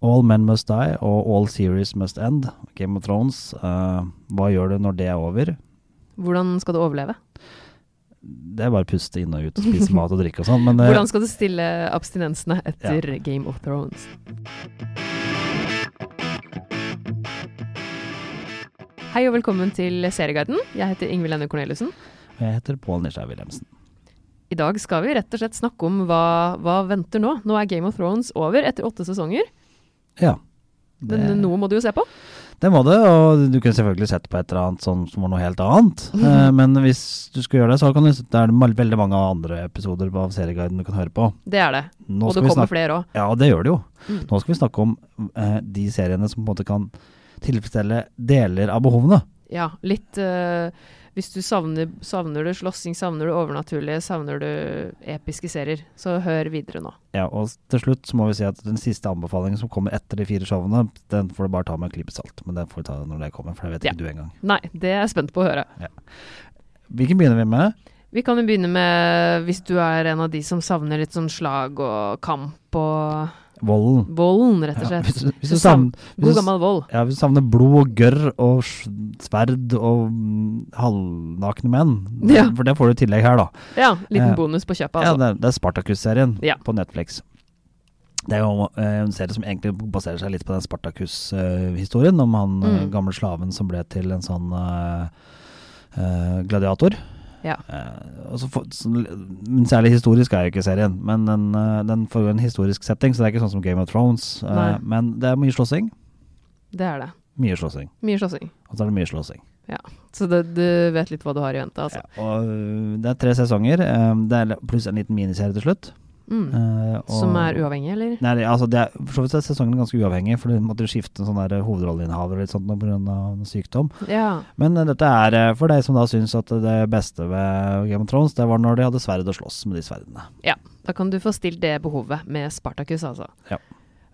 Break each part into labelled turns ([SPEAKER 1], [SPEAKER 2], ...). [SPEAKER 1] All Men Must Die og All Series Must End, Game of Thrones. eh, hva gjør du når det er over?
[SPEAKER 2] Hvordan skal du overleve?
[SPEAKER 1] Det er bare å puste inn og ut og spise mat og drikke og sånn, men eh,
[SPEAKER 2] Hvordan skal du stille abstinensene etter Game of Thrones? Hei og velkommen til Serieguiden. Jeg heter Ingvild Enne Corneliussen.
[SPEAKER 1] jeg heter Pål Nisjær Wilhelmsen.
[SPEAKER 2] I dag skal vi rett og slett snakke om hva, hva venter nå. Nå er Game of Thrones over etter åtte sesonger,
[SPEAKER 1] Ja.
[SPEAKER 2] men eh, noe må du jo se på.
[SPEAKER 1] Det må det, og du kunne selvfølgelig sett på et eller annet sånn som var noe helt annet. Eh, men hvis du skulle gjøre det, så kan du, det er det mal- veldig mange andre episoder av Serieguiden du kan høre på.
[SPEAKER 2] Det er det.
[SPEAKER 1] Nå
[SPEAKER 2] og det
[SPEAKER 1] vi
[SPEAKER 2] kommer
[SPEAKER 1] snakke,
[SPEAKER 2] flere òg.
[SPEAKER 1] ja, det gjør det jo.
[SPEAKER 2] Mm.
[SPEAKER 1] Nå skal vi snakke om eh, de seriene som på en måte kan tilfredsstille deler av behovene.
[SPEAKER 2] Ja, litt eh, Hvis du savner, savner du slåssing, savner du overnaturlige, savner du episke serier, så hør videre nå.
[SPEAKER 1] Ja, og s- til slutt så må vi si at den siste anbefalingen som kommer etter de fire showene, den får du bare ta med en klype salt. Men den får du ta når det kommer, for det vet
[SPEAKER 2] Ja.
[SPEAKER 1] ikke du engang.
[SPEAKER 2] Nei, det er jeg spent på å høre.
[SPEAKER 1] Hvilken begynner vi med?
[SPEAKER 2] Vi kan jo begynne med hvis du er en av de som savner litt sånn slag og kamp og
[SPEAKER 1] Volden.
[SPEAKER 2] volden, rett og
[SPEAKER 1] Ja,
[SPEAKER 2] slett.
[SPEAKER 1] hvis, du- hvis
[SPEAKER 2] Du
[SPEAKER 1] du
[SPEAKER 2] savn-
[SPEAKER 1] savner hvis
[SPEAKER 2] God
[SPEAKER 1] du-
[SPEAKER 2] gammel vold.
[SPEAKER 1] Ja, vi savner blod og gørr og s- sverd og mm, halvnakne menn.
[SPEAKER 2] Ja.
[SPEAKER 1] For det får du i tillegg her, da.
[SPEAKER 2] Ja, liten
[SPEAKER 1] Ja.
[SPEAKER 2] bonus på kjøpet,
[SPEAKER 1] Ja,
[SPEAKER 2] altså.
[SPEAKER 1] det, er- det er Spartacus-serien
[SPEAKER 2] Ja.
[SPEAKER 1] på Netflix. Det er jo eh, en serie som egentlig baserer seg litt på den Spartacus-historien om han eh,
[SPEAKER 2] Mm.
[SPEAKER 1] gamle slaven som ble til en sånn eh, eh, gladiator.
[SPEAKER 2] Ja.
[SPEAKER 1] Eh, og så for, så, men særlig historisk er jo ikke serien, men den, eh, den får jo en historisk setting, så det er ikke sånn som Game of Thrones. eh,
[SPEAKER 2] Nei.
[SPEAKER 1] men det er mye slåssing.
[SPEAKER 2] Det er det.
[SPEAKER 1] Mye slåssing.
[SPEAKER 2] Mye slåssing.
[SPEAKER 1] Og så er det mye slåssing.
[SPEAKER 2] Så det, du vet litt hva du har i vente, altså.
[SPEAKER 1] Ja, og øh, det er tre sesonger, ehm, det er l- pluss en liten miniserie til slutt.
[SPEAKER 2] Mm.
[SPEAKER 1] eh, og-
[SPEAKER 2] Som er uavhengig, eller?
[SPEAKER 1] Nei, det- altså det er, for så vidt er sesongen ganske uavhengig, for du måtte jo skifte en sånn der hovedrolleinnehaver og litt sånt nå på grunn av sykdom.
[SPEAKER 2] Ja.
[SPEAKER 1] Men eh, dette er eh, for deg som da syns at det beste ved Game of Thrones, det var når de hadde sverd å slåss med de sverdene.
[SPEAKER 2] Da kan du få stilt det behovet med Spartacus, altså.
[SPEAKER 1] Ja.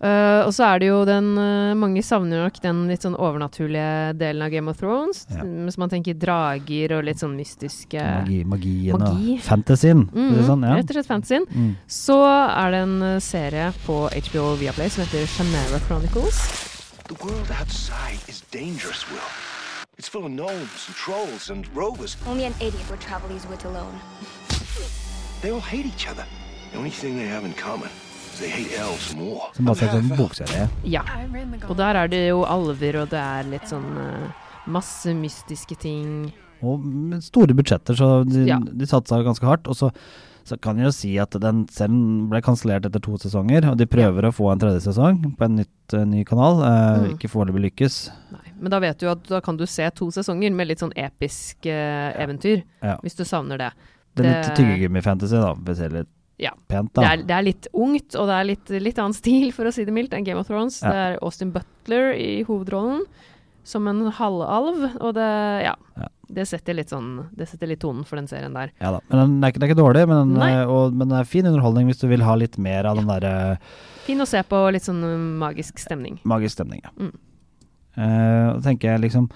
[SPEAKER 2] Eh, og så er det jo den eh, Mange savner nok den litt sånn overnaturlige delen av Game of Thrones.
[SPEAKER 1] Ja.
[SPEAKER 2] Hvis man tenker drager og litt sånn mystiske
[SPEAKER 1] Magi, magien
[SPEAKER 2] Magi.
[SPEAKER 1] og fantasyen. for å si det
[SPEAKER 2] Mhm,
[SPEAKER 1] sånn, ja.
[SPEAKER 2] Rett og slett fantasyen.
[SPEAKER 1] Mm.
[SPEAKER 2] Så er det en eh, serie på HBO Viaplay som heter Shamara Chronicles.
[SPEAKER 3] The world outside is dangerous, Will. It's full of gnomes and trolls and rovers.
[SPEAKER 4] Only an idiot would travel these woods alone.
[SPEAKER 3] They all hate each other. The only thing they have in common is they hate elves more.
[SPEAKER 1] Som basert på en bokserie.
[SPEAKER 2] Ja. Og der er det jo alver, og det er litt sånn eh, masse mystiske ting.
[SPEAKER 1] Og med store budsjetter, så de,
[SPEAKER 2] Ja.
[SPEAKER 1] de satsa ganske hardt. Og så, så kan jeg jo si at den serien ble kansellert etter to sesonger, og de prøver å få en tredje sesong på en nytt, eh, ny kanal. Eh,
[SPEAKER 2] Mm.
[SPEAKER 1] Ikke foreløpig lykkes.
[SPEAKER 2] Nei. Men da vet du at da kan du se to sesonger med litt sånn episk eh, eventyr,
[SPEAKER 1] Ja.
[SPEAKER 2] hvis du savner det.
[SPEAKER 1] Det er
[SPEAKER 2] Det-
[SPEAKER 1] litt tyggegummi-fantasy, da, for å si det litt
[SPEAKER 2] Ja.
[SPEAKER 1] pent,
[SPEAKER 2] Det
[SPEAKER 1] da.
[SPEAKER 2] er, det er litt ungt, og det er litt, litt annen stil, for å si det mildt, enn Game of Thrones.
[SPEAKER 1] Ja.
[SPEAKER 2] Det er Austin Butler i hovedrollen som en halvalv, og det ja.
[SPEAKER 1] Ja.
[SPEAKER 2] Det setter litt sånn Det setter litt tonen for den serien der.
[SPEAKER 1] Ja da. Men den er ikke, den er ikke dårlig, men den,
[SPEAKER 2] Nei.
[SPEAKER 1] eh, og, men den er fin underholdning hvis du vil ha litt mer av den derre
[SPEAKER 2] Fin å se på, og litt sånn um, magisk stemning.
[SPEAKER 1] magisk stemning, ja.
[SPEAKER 2] Mm.
[SPEAKER 1] Eh, og tenker jeg liksom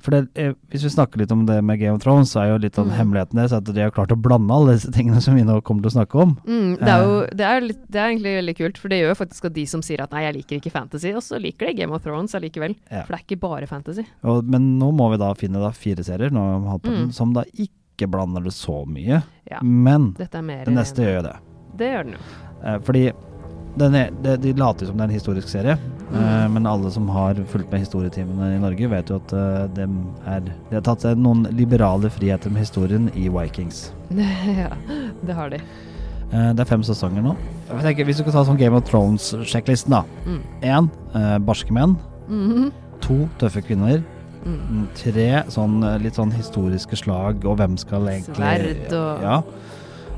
[SPEAKER 1] for det, eh, Hvis vi snakker litt om det med Game of Thrones, så er jo litt av
[SPEAKER 2] Mm.
[SPEAKER 1] hemmeligheten deres at de har klart å blande alle disse tingene som vi nå kommer til å snakke om.
[SPEAKER 2] Mm, det, er jo, det, er litt, det er egentlig veldig kult, for det gjør faktisk at de som sier at nei, jeg liker ikke fantasy, og så liker de Game of Thrones allikevel.
[SPEAKER 1] Ja.
[SPEAKER 2] For det er ikke bare fantasy.
[SPEAKER 1] Og, men nå må vi da finne da fire serier nå om halvparten,
[SPEAKER 2] Mm.
[SPEAKER 1] som da ikke blander det så mye.
[SPEAKER 2] Ja.
[SPEAKER 1] Men
[SPEAKER 2] Dette er mer
[SPEAKER 1] den neste gjør jo det.
[SPEAKER 2] Det gjør den jo.
[SPEAKER 1] Eh, fordi den er, de, de later jo som det er en historisk serie, eh, men alle som har fulgt med historietimene i Norge, vet jo at eh, dem er, de har tatt seg noen liberale friheter med historien i Vikings.
[SPEAKER 2] ja, det har de.
[SPEAKER 1] Eh, det er fem sesonger nå. Jeg tenker, hvis du skal ta sånn Game of Thrones-sjekklisten, da.
[SPEAKER 2] Mm.
[SPEAKER 1] Én eh, barske menn.
[SPEAKER 2] Mhm.
[SPEAKER 1] To tøffe kvinner.
[SPEAKER 2] Mm.
[SPEAKER 1] Mm, Tre sånn, eh, litt sånn historiske slag, og hvem skal egentlig
[SPEAKER 2] Sverd og-
[SPEAKER 1] ja.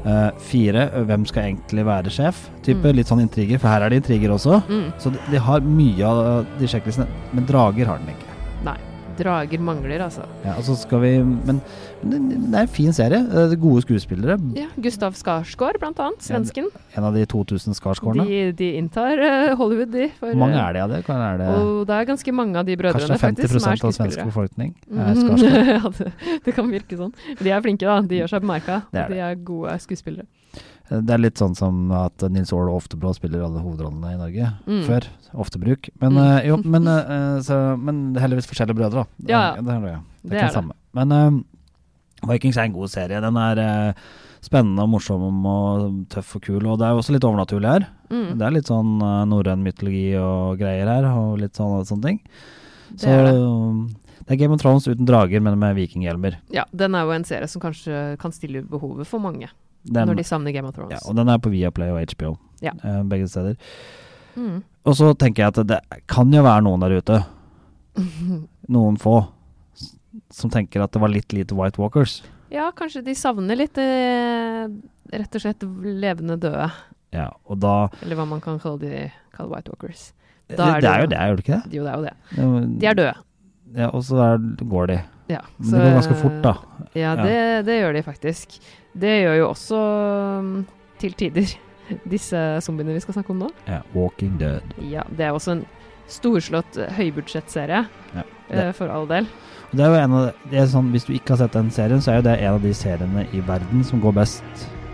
[SPEAKER 1] Eh, Fire, eh, hvem skal egentlig være sjef? Type Litt sånn intriger, for her er det intriger også.
[SPEAKER 2] Mm.
[SPEAKER 1] Så de, de har mye av de sjekklistene, men drager har den ikke.
[SPEAKER 2] Nei. Drager mangler, altså.
[SPEAKER 1] Ja, og så skal vi, men, men det, det er en fin serie. Eh, det er Gode skuespillere.
[SPEAKER 2] Ja, Gustav Skarsgård, blant annet. Svensken.
[SPEAKER 1] En av de 2000 Skarsgårdene.
[SPEAKER 2] De, de inntar eh, Hollywood, de. eh,
[SPEAKER 1] Hvor mange er det av det? Kan, er det
[SPEAKER 2] Og det er ganske mange av de brødrene
[SPEAKER 1] kanskje det er
[SPEAKER 2] faktisk,
[SPEAKER 1] 50
[SPEAKER 2] som er
[SPEAKER 1] av svensk
[SPEAKER 2] skuespillere.
[SPEAKER 1] befolkning? Er Skarsgård.
[SPEAKER 2] Mm, ja, det, det kan virke sånn. Men De er flinke, da. De gjør seg bemerka.
[SPEAKER 1] Det er
[SPEAKER 2] og De er gode skuespillere.
[SPEAKER 1] Eh, Det er litt sånn som at Nils Aall og Oftebro spiller alle hovedrollene i Norge
[SPEAKER 2] Mm.
[SPEAKER 1] før. Oftebruk. Men,
[SPEAKER 2] Mm.
[SPEAKER 1] eh, jo, men, eh, så, men det er heldigvis forskjellige brødre, da. Det
[SPEAKER 2] Ja,
[SPEAKER 1] er- det er det. Det
[SPEAKER 2] det
[SPEAKER 1] er ikke
[SPEAKER 2] er
[SPEAKER 1] det samme. Men eh, Vikings er en god serie. Den er eh, spennende og morsom og tøff og kul. Og det er jo også litt overnaturlig her.
[SPEAKER 2] Mm,
[SPEAKER 1] Det er litt sånn eh, norrøn mytologi og greier her, og litt sånn, sånne ting.
[SPEAKER 2] det
[SPEAKER 1] Så
[SPEAKER 2] er det.
[SPEAKER 1] um, det er Game of Thrones uten drager, men med vikinghjelmer.
[SPEAKER 2] Ja, den er jo en serie som kanskje kan stille behovet for mange
[SPEAKER 1] Den,
[SPEAKER 2] når de savner Game of Thrones.
[SPEAKER 1] ja, og den er på Viaplay og HBO,
[SPEAKER 2] Ja.
[SPEAKER 1] eh, begge steder.
[SPEAKER 2] Mm.
[SPEAKER 1] Og så tenker jeg at det kan jo være noen der ute, noen få, s- som tenker at det var litt lite White Walkers.
[SPEAKER 2] ja, kanskje de savner litt eh, rett og slett levende døde,
[SPEAKER 1] Ja, og da
[SPEAKER 2] eller hva man kan kalle de kalle White Walkers.
[SPEAKER 1] Det,
[SPEAKER 2] Da er
[SPEAKER 1] det er jo
[SPEAKER 2] det-
[SPEAKER 1] det, gjør det ikke det?
[SPEAKER 2] Jo, det er jo det.
[SPEAKER 1] Det er jo-
[SPEAKER 2] De er døde.
[SPEAKER 1] Ja, og så er, går de.
[SPEAKER 2] Ja,
[SPEAKER 1] Men det går ganske fort, da.
[SPEAKER 2] Ja,
[SPEAKER 1] Ja.
[SPEAKER 2] det, det gjør de faktisk. Det gjør jo også mm, til tider disse zombiene vi skal snakke om nå.
[SPEAKER 1] Ja, Walking Dead.
[SPEAKER 2] Ja, det er også en storslått eh, høybudsjettserie,
[SPEAKER 1] Ja,
[SPEAKER 2] eh, for all del.
[SPEAKER 1] Og Det er jo en av, det er sånn, hvis du ikke har sett den serien, så er jo det en av de seriene i verden som går best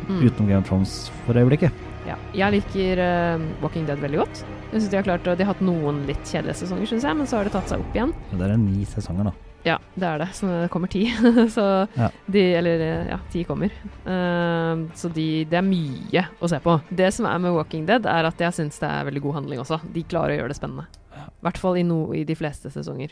[SPEAKER 2] Mm.
[SPEAKER 1] utenom Game of Thrones for øyeblikket.
[SPEAKER 2] Ja. Jeg liker eh, Walking Dead veldig godt. Jeg synes De har klart å- De har hatt noen litt kjedelige sesonger, synes jeg, men så har det tatt seg opp igjen.
[SPEAKER 1] Og Det er ni sesonger, da.
[SPEAKER 2] Ja, det er det. Så det kommer ti. så
[SPEAKER 1] Ja.
[SPEAKER 2] de Eller eh, ja, ti kommer. Ehm, så de, det er mye å se på. Det som er med Walking Dead, er at jeg syns det er veldig god handling også. De klarer å gjøre det spennende. I hvert fall i, no, i de fleste sesonger.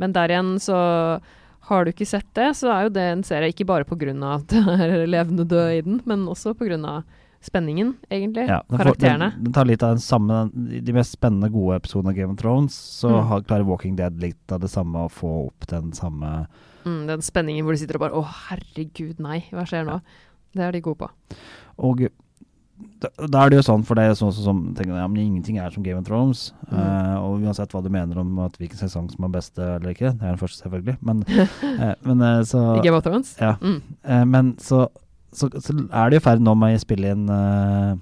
[SPEAKER 2] Men der igjen så har du ikke sett det, så er jo det en serie ikke bare pga. at det er levende død i den, men også pga. spenningen, egentlig.
[SPEAKER 1] Ja, den får-
[SPEAKER 2] Karakterene.
[SPEAKER 1] Den, den tar litt av den samme De mest spennende, gode episodene av Game of Thrones, så
[SPEAKER 2] Mm.
[SPEAKER 1] har, klarer Walking Dead litt av det samme å få opp den samme
[SPEAKER 2] Mm, den spenningen hvor de sitter og bare Å, herregud, nei, hva skjer nå? Det er de gode på.
[SPEAKER 1] Og da, da er det jo sånn, for det er sånn som tenker, jeg, ja, men ingenting er som Game of Thrones.
[SPEAKER 2] Mm.
[SPEAKER 1] eh, og uansett hva du mener om at hvilken sesong som er beste eller ikke, det er den første, selvfølgelig, men, eh, men eh, så
[SPEAKER 2] I Game of Thrones?
[SPEAKER 1] Ja.
[SPEAKER 2] Mm.
[SPEAKER 1] Eh, men så, så, så er det i ferd nå med å spille inn eh,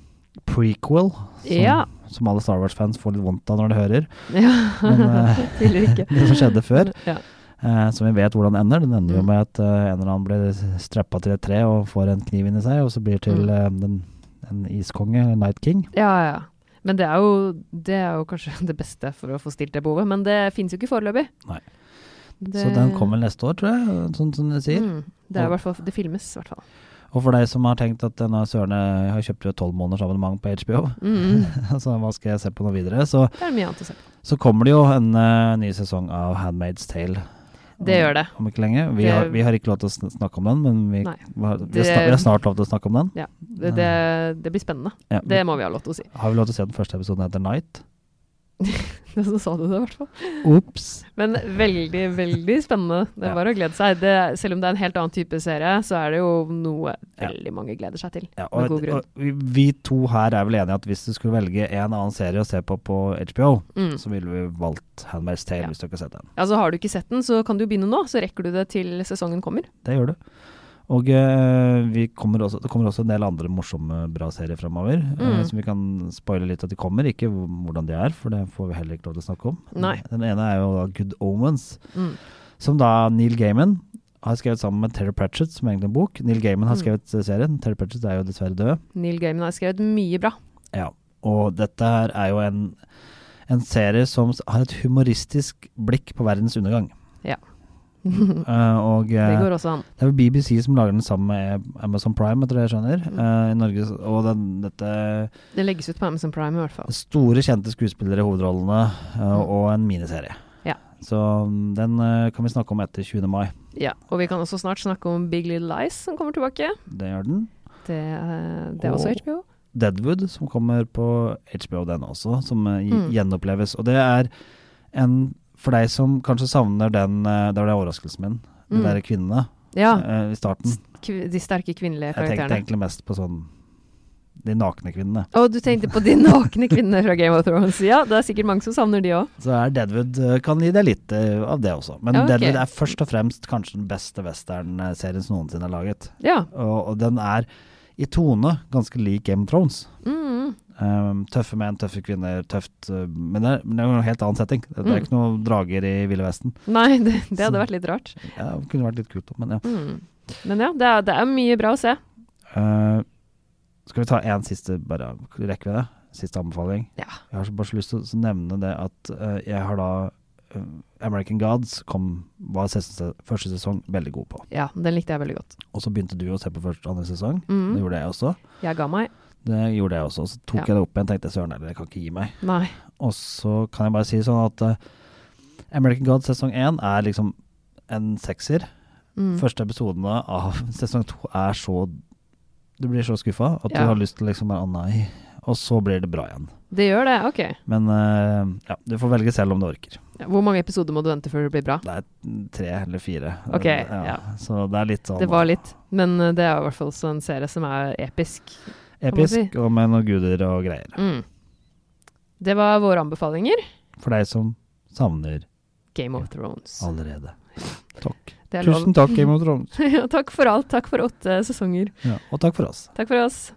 [SPEAKER 1] prequel, som,
[SPEAKER 2] Ja.
[SPEAKER 1] som alle Star Wars-fans får litt vondt av når de hører. Men,
[SPEAKER 2] ja.
[SPEAKER 1] eh,
[SPEAKER 2] Tidligere ikke. Mm,
[SPEAKER 1] det som skjedde før,
[SPEAKER 2] Ja.
[SPEAKER 1] eh, som vi vet hvordan det ender. Den ender jo
[SPEAKER 2] Mm.
[SPEAKER 1] med at eh, en eller annen blir strappa til et tre og får en kniv inni seg, og så blir til
[SPEAKER 2] Mm.
[SPEAKER 1] eh, den, en iskonge, eller Night King.
[SPEAKER 2] ja, ja, ja. Men det er, jo, det er jo kanskje det beste for å få stilt det behovet, men det finnes jo ikke foreløpig.
[SPEAKER 1] Nei.
[SPEAKER 2] Det-
[SPEAKER 1] Så den kommer neste år, tror jeg, sånn som de sier.
[SPEAKER 2] Mm, det, er i hvert fall, det filmes i hvert fall.
[SPEAKER 1] Og for deg som har tenkt at denne Sørene har kjøpt jo et tolv måneders abonnement på HBO,
[SPEAKER 2] Mm,
[SPEAKER 1] så hva skal jeg se på nå videre, så,
[SPEAKER 2] det er mye annet å se på.
[SPEAKER 1] så kommer det jo en eh, ny sesong av Handmaid's Tale.
[SPEAKER 2] Det gjør det.
[SPEAKER 1] Om ikke lenge. Vi,
[SPEAKER 2] Det-
[SPEAKER 1] har, vi har ikke lov til å sn- snakke om den, men vi,
[SPEAKER 2] Nei.
[SPEAKER 1] vi, har, vi, har
[SPEAKER 2] Det-
[SPEAKER 1] snart, vi har snart lov til å snakke om den.
[SPEAKER 2] Det, det, det blir spennende.
[SPEAKER 1] Ja,
[SPEAKER 2] Det må vi ha lov til å si.
[SPEAKER 1] Har vi lov til å se den første episoden etter Night?
[SPEAKER 2] Det så sa du det, i hvert fall.
[SPEAKER 1] Ops!
[SPEAKER 2] Men veldig, veldig spennende. Det
[SPEAKER 1] Ja.
[SPEAKER 2] er bare å glede seg. Det, selv om det er en helt annen type serie, så er det jo noe
[SPEAKER 1] Ja.
[SPEAKER 2] veldig mange gleder seg til.
[SPEAKER 1] Ja, og,
[SPEAKER 2] Med god grunn.
[SPEAKER 1] og vi, vi to her er vel enige at hvis du skulle velge en annen serie å se på på HBO,
[SPEAKER 2] Mm.
[SPEAKER 1] så ville vi valgt Handmaid's Tale
[SPEAKER 2] Ja.
[SPEAKER 1] hvis du ikke har sett den.
[SPEAKER 2] Altså, har du ikke sett den, så kan du jo begynne nå, så rekker du det til sesongen kommer.
[SPEAKER 1] Det gjør du. Og eh, vi kommer også, det kommer også en del andre morsomme, bra serier framover. Eh,
[SPEAKER 2] Mm.
[SPEAKER 1] som vi kan spoile litt at de kommer. Ikke hvor- hvordan de er, for det får vi heller ikke lov til å snakke om.
[SPEAKER 2] Nei.
[SPEAKER 1] Den ene er jo da Good Omens,
[SPEAKER 2] Mm.
[SPEAKER 1] som da Neil Gaiman har skrevet sammen med Terry Pratchett, som egentlig er en bok. Neil Gaiman har
[SPEAKER 2] Mm.
[SPEAKER 1] skrevet eh, serien. Terry Pratchett er jo dessverre død.
[SPEAKER 2] Neil Gaiman har skrevet mye bra.
[SPEAKER 1] Ja, og dette her er jo en, en serie som s- har et humoristisk blikk på verdens undergang.
[SPEAKER 2] Ja.
[SPEAKER 1] Eh, og eh,
[SPEAKER 2] Det går også an.
[SPEAKER 1] det er jo BBC som lager den sammen med Amazon Prime, etter det jeg skjønner,
[SPEAKER 2] Mm.
[SPEAKER 1] eh, i Norge. Og den, dette
[SPEAKER 2] Det legges ut på Amazon Prime i hvert fall.
[SPEAKER 1] store, kjente skuespillere i hovedrollene, eh,
[SPEAKER 2] Mm.
[SPEAKER 1] og en miniserie.
[SPEAKER 2] Ja.
[SPEAKER 1] Så mm, den eh, kan vi snakke om etter 20. mai.
[SPEAKER 2] Ja, Og vi kan også snart snakke om Big Little Lies som kommer tilbake.
[SPEAKER 1] Det gjør den.
[SPEAKER 2] Det, eh, det er også
[SPEAKER 1] Og-
[SPEAKER 2] HBO.
[SPEAKER 1] Deadwood, som kommer på HBO den også, som eh,
[SPEAKER 2] Mm.
[SPEAKER 1] gjenoppleves. Og det er en For deg som kanskje savner den eh, Det var det overraskelsen min. De
[SPEAKER 2] Mm.
[SPEAKER 1] der kvinnene
[SPEAKER 2] Ja,
[SPEAKER 1] eh, i starten.
[SPEAKER 2] kv de sterke
[SPEAKER 1] Jeg
[SPEAKER 2] kvinnelige
[SPEAKER 1] tenkte
[SPEAKER 2] karakterene.
[SPEAKER 1] egentlig mest på sånn de nakne kvinnene.
[SPEAKER 2] Å, du tenkte på de nakne kvinnene fra Game of Thrones. Ja, det er sikkert mange som savner de òg.
[SPEAKER 1] Så er Deadwood eh, kan gi deg litt eh, av det også. Men
[SPEAKER 2] Ja, ok.
[SPEAKER 1] Deadwood er først og fremst kanskje den beste western-serien som noensinne er laget.
[SPEAKER 2] Ja.
[SPEAKER 1] Og, og den er i tone ganske lik Game of Thrones.
[SPEAKER 2] Mm.
[SPEAKER 1] Um, tøffe menn, tøffe kvinner, tøft uh, Men det er, men det er jo en helt annen setting. Det, det er
[SPEAKER 2] Mm.
[SPEAKER 1] ikke noen drager i Ville Vesten.
[SPEAKER 2] Nei, det, det hadde
[SPEAKER 1] Så-
[SPEAKER 2] vært litt rart.
[SPEAKER 1] Ja, det kunne vært litt kult, men ja.
[SPEAKER 2] Mm. Men ja, det er, det er mye bra å se.
[SPEAKER 1] Uh, Skal vi ta én siste, bare rekker vi det? Siste anbefaling.
[SPEAKER 2] Ja.
[SPEAKER 1] Jeg har så bare så lyst til å så nevne det at eh, jeg har da eh, American Gods kom, var seste, første sesong veldig god på.
[SPEAKER 2] Ja, den likte jeg veldig godt.
[SPEAKER 1] Og så begynte du å se på første andre sesong. Det
[SPEAKER 2] Mm.
[SPEAKER 1] gjorde jeg også.
[SPEAKER 2] Jeg ga meg.
[SPEAKER 1] Det gjorde jeg også. Så tok
[SPEAKER 2] Ja.
[SPEAKER 1] jeg det opp igjen tenkte søren heller, jeg kan ikke gi meg.
[SPEAKER 2] Nei.
[SPEAKER 1] Og så kan jeg bare si sånn at eh, American Gods sesong én er liksom en sekser.
[SPEAKER 2] Mm.
[SPEAKER 1] Første episodene av sesong to er så Du blir så skuffa at
[SPEAKER 2] Ja.
[SPEAKER 1] du har lyst til liksom bare å nei. Og så blir det bra igjen.
[SPEAKER 2] Det gjør det, ok.
[SPEAKER 1] Men eh, ja, du får velge selv om du orker.
[SPEAKER 2] Ja, Hvor mange episoder må du vente før det blir bra?
[SPEAKER 1] Det er tre eller fire.
[SPEAKER 2] Ok, ja.
[SPEAKER 1] Så det er litt sånn
[SPEAKER 2] Det var litt, men eh, det er jo i hvert fall også en serie som er episk. man
[SPEAKER 1] episk, og med noen guder og greier.
[SPEAKER 2] Mm. Det var våre anbefalinger.
[SPEAKER 1] For deg som savner
[SPEAKER 2] Game of Thrones.
[SPEAKER 1] allerede. Takk.
[SPEAKER 2] Det er lov.
[SPEAKER 1] Tusen takk, Game of Thrones.
[SPEAKER 2] ja, takk for alt. Takk for åtte sesonger.
[SPEAKER 1] Ja, og takk for oss.
[SPEAKER 2] Takk for oss.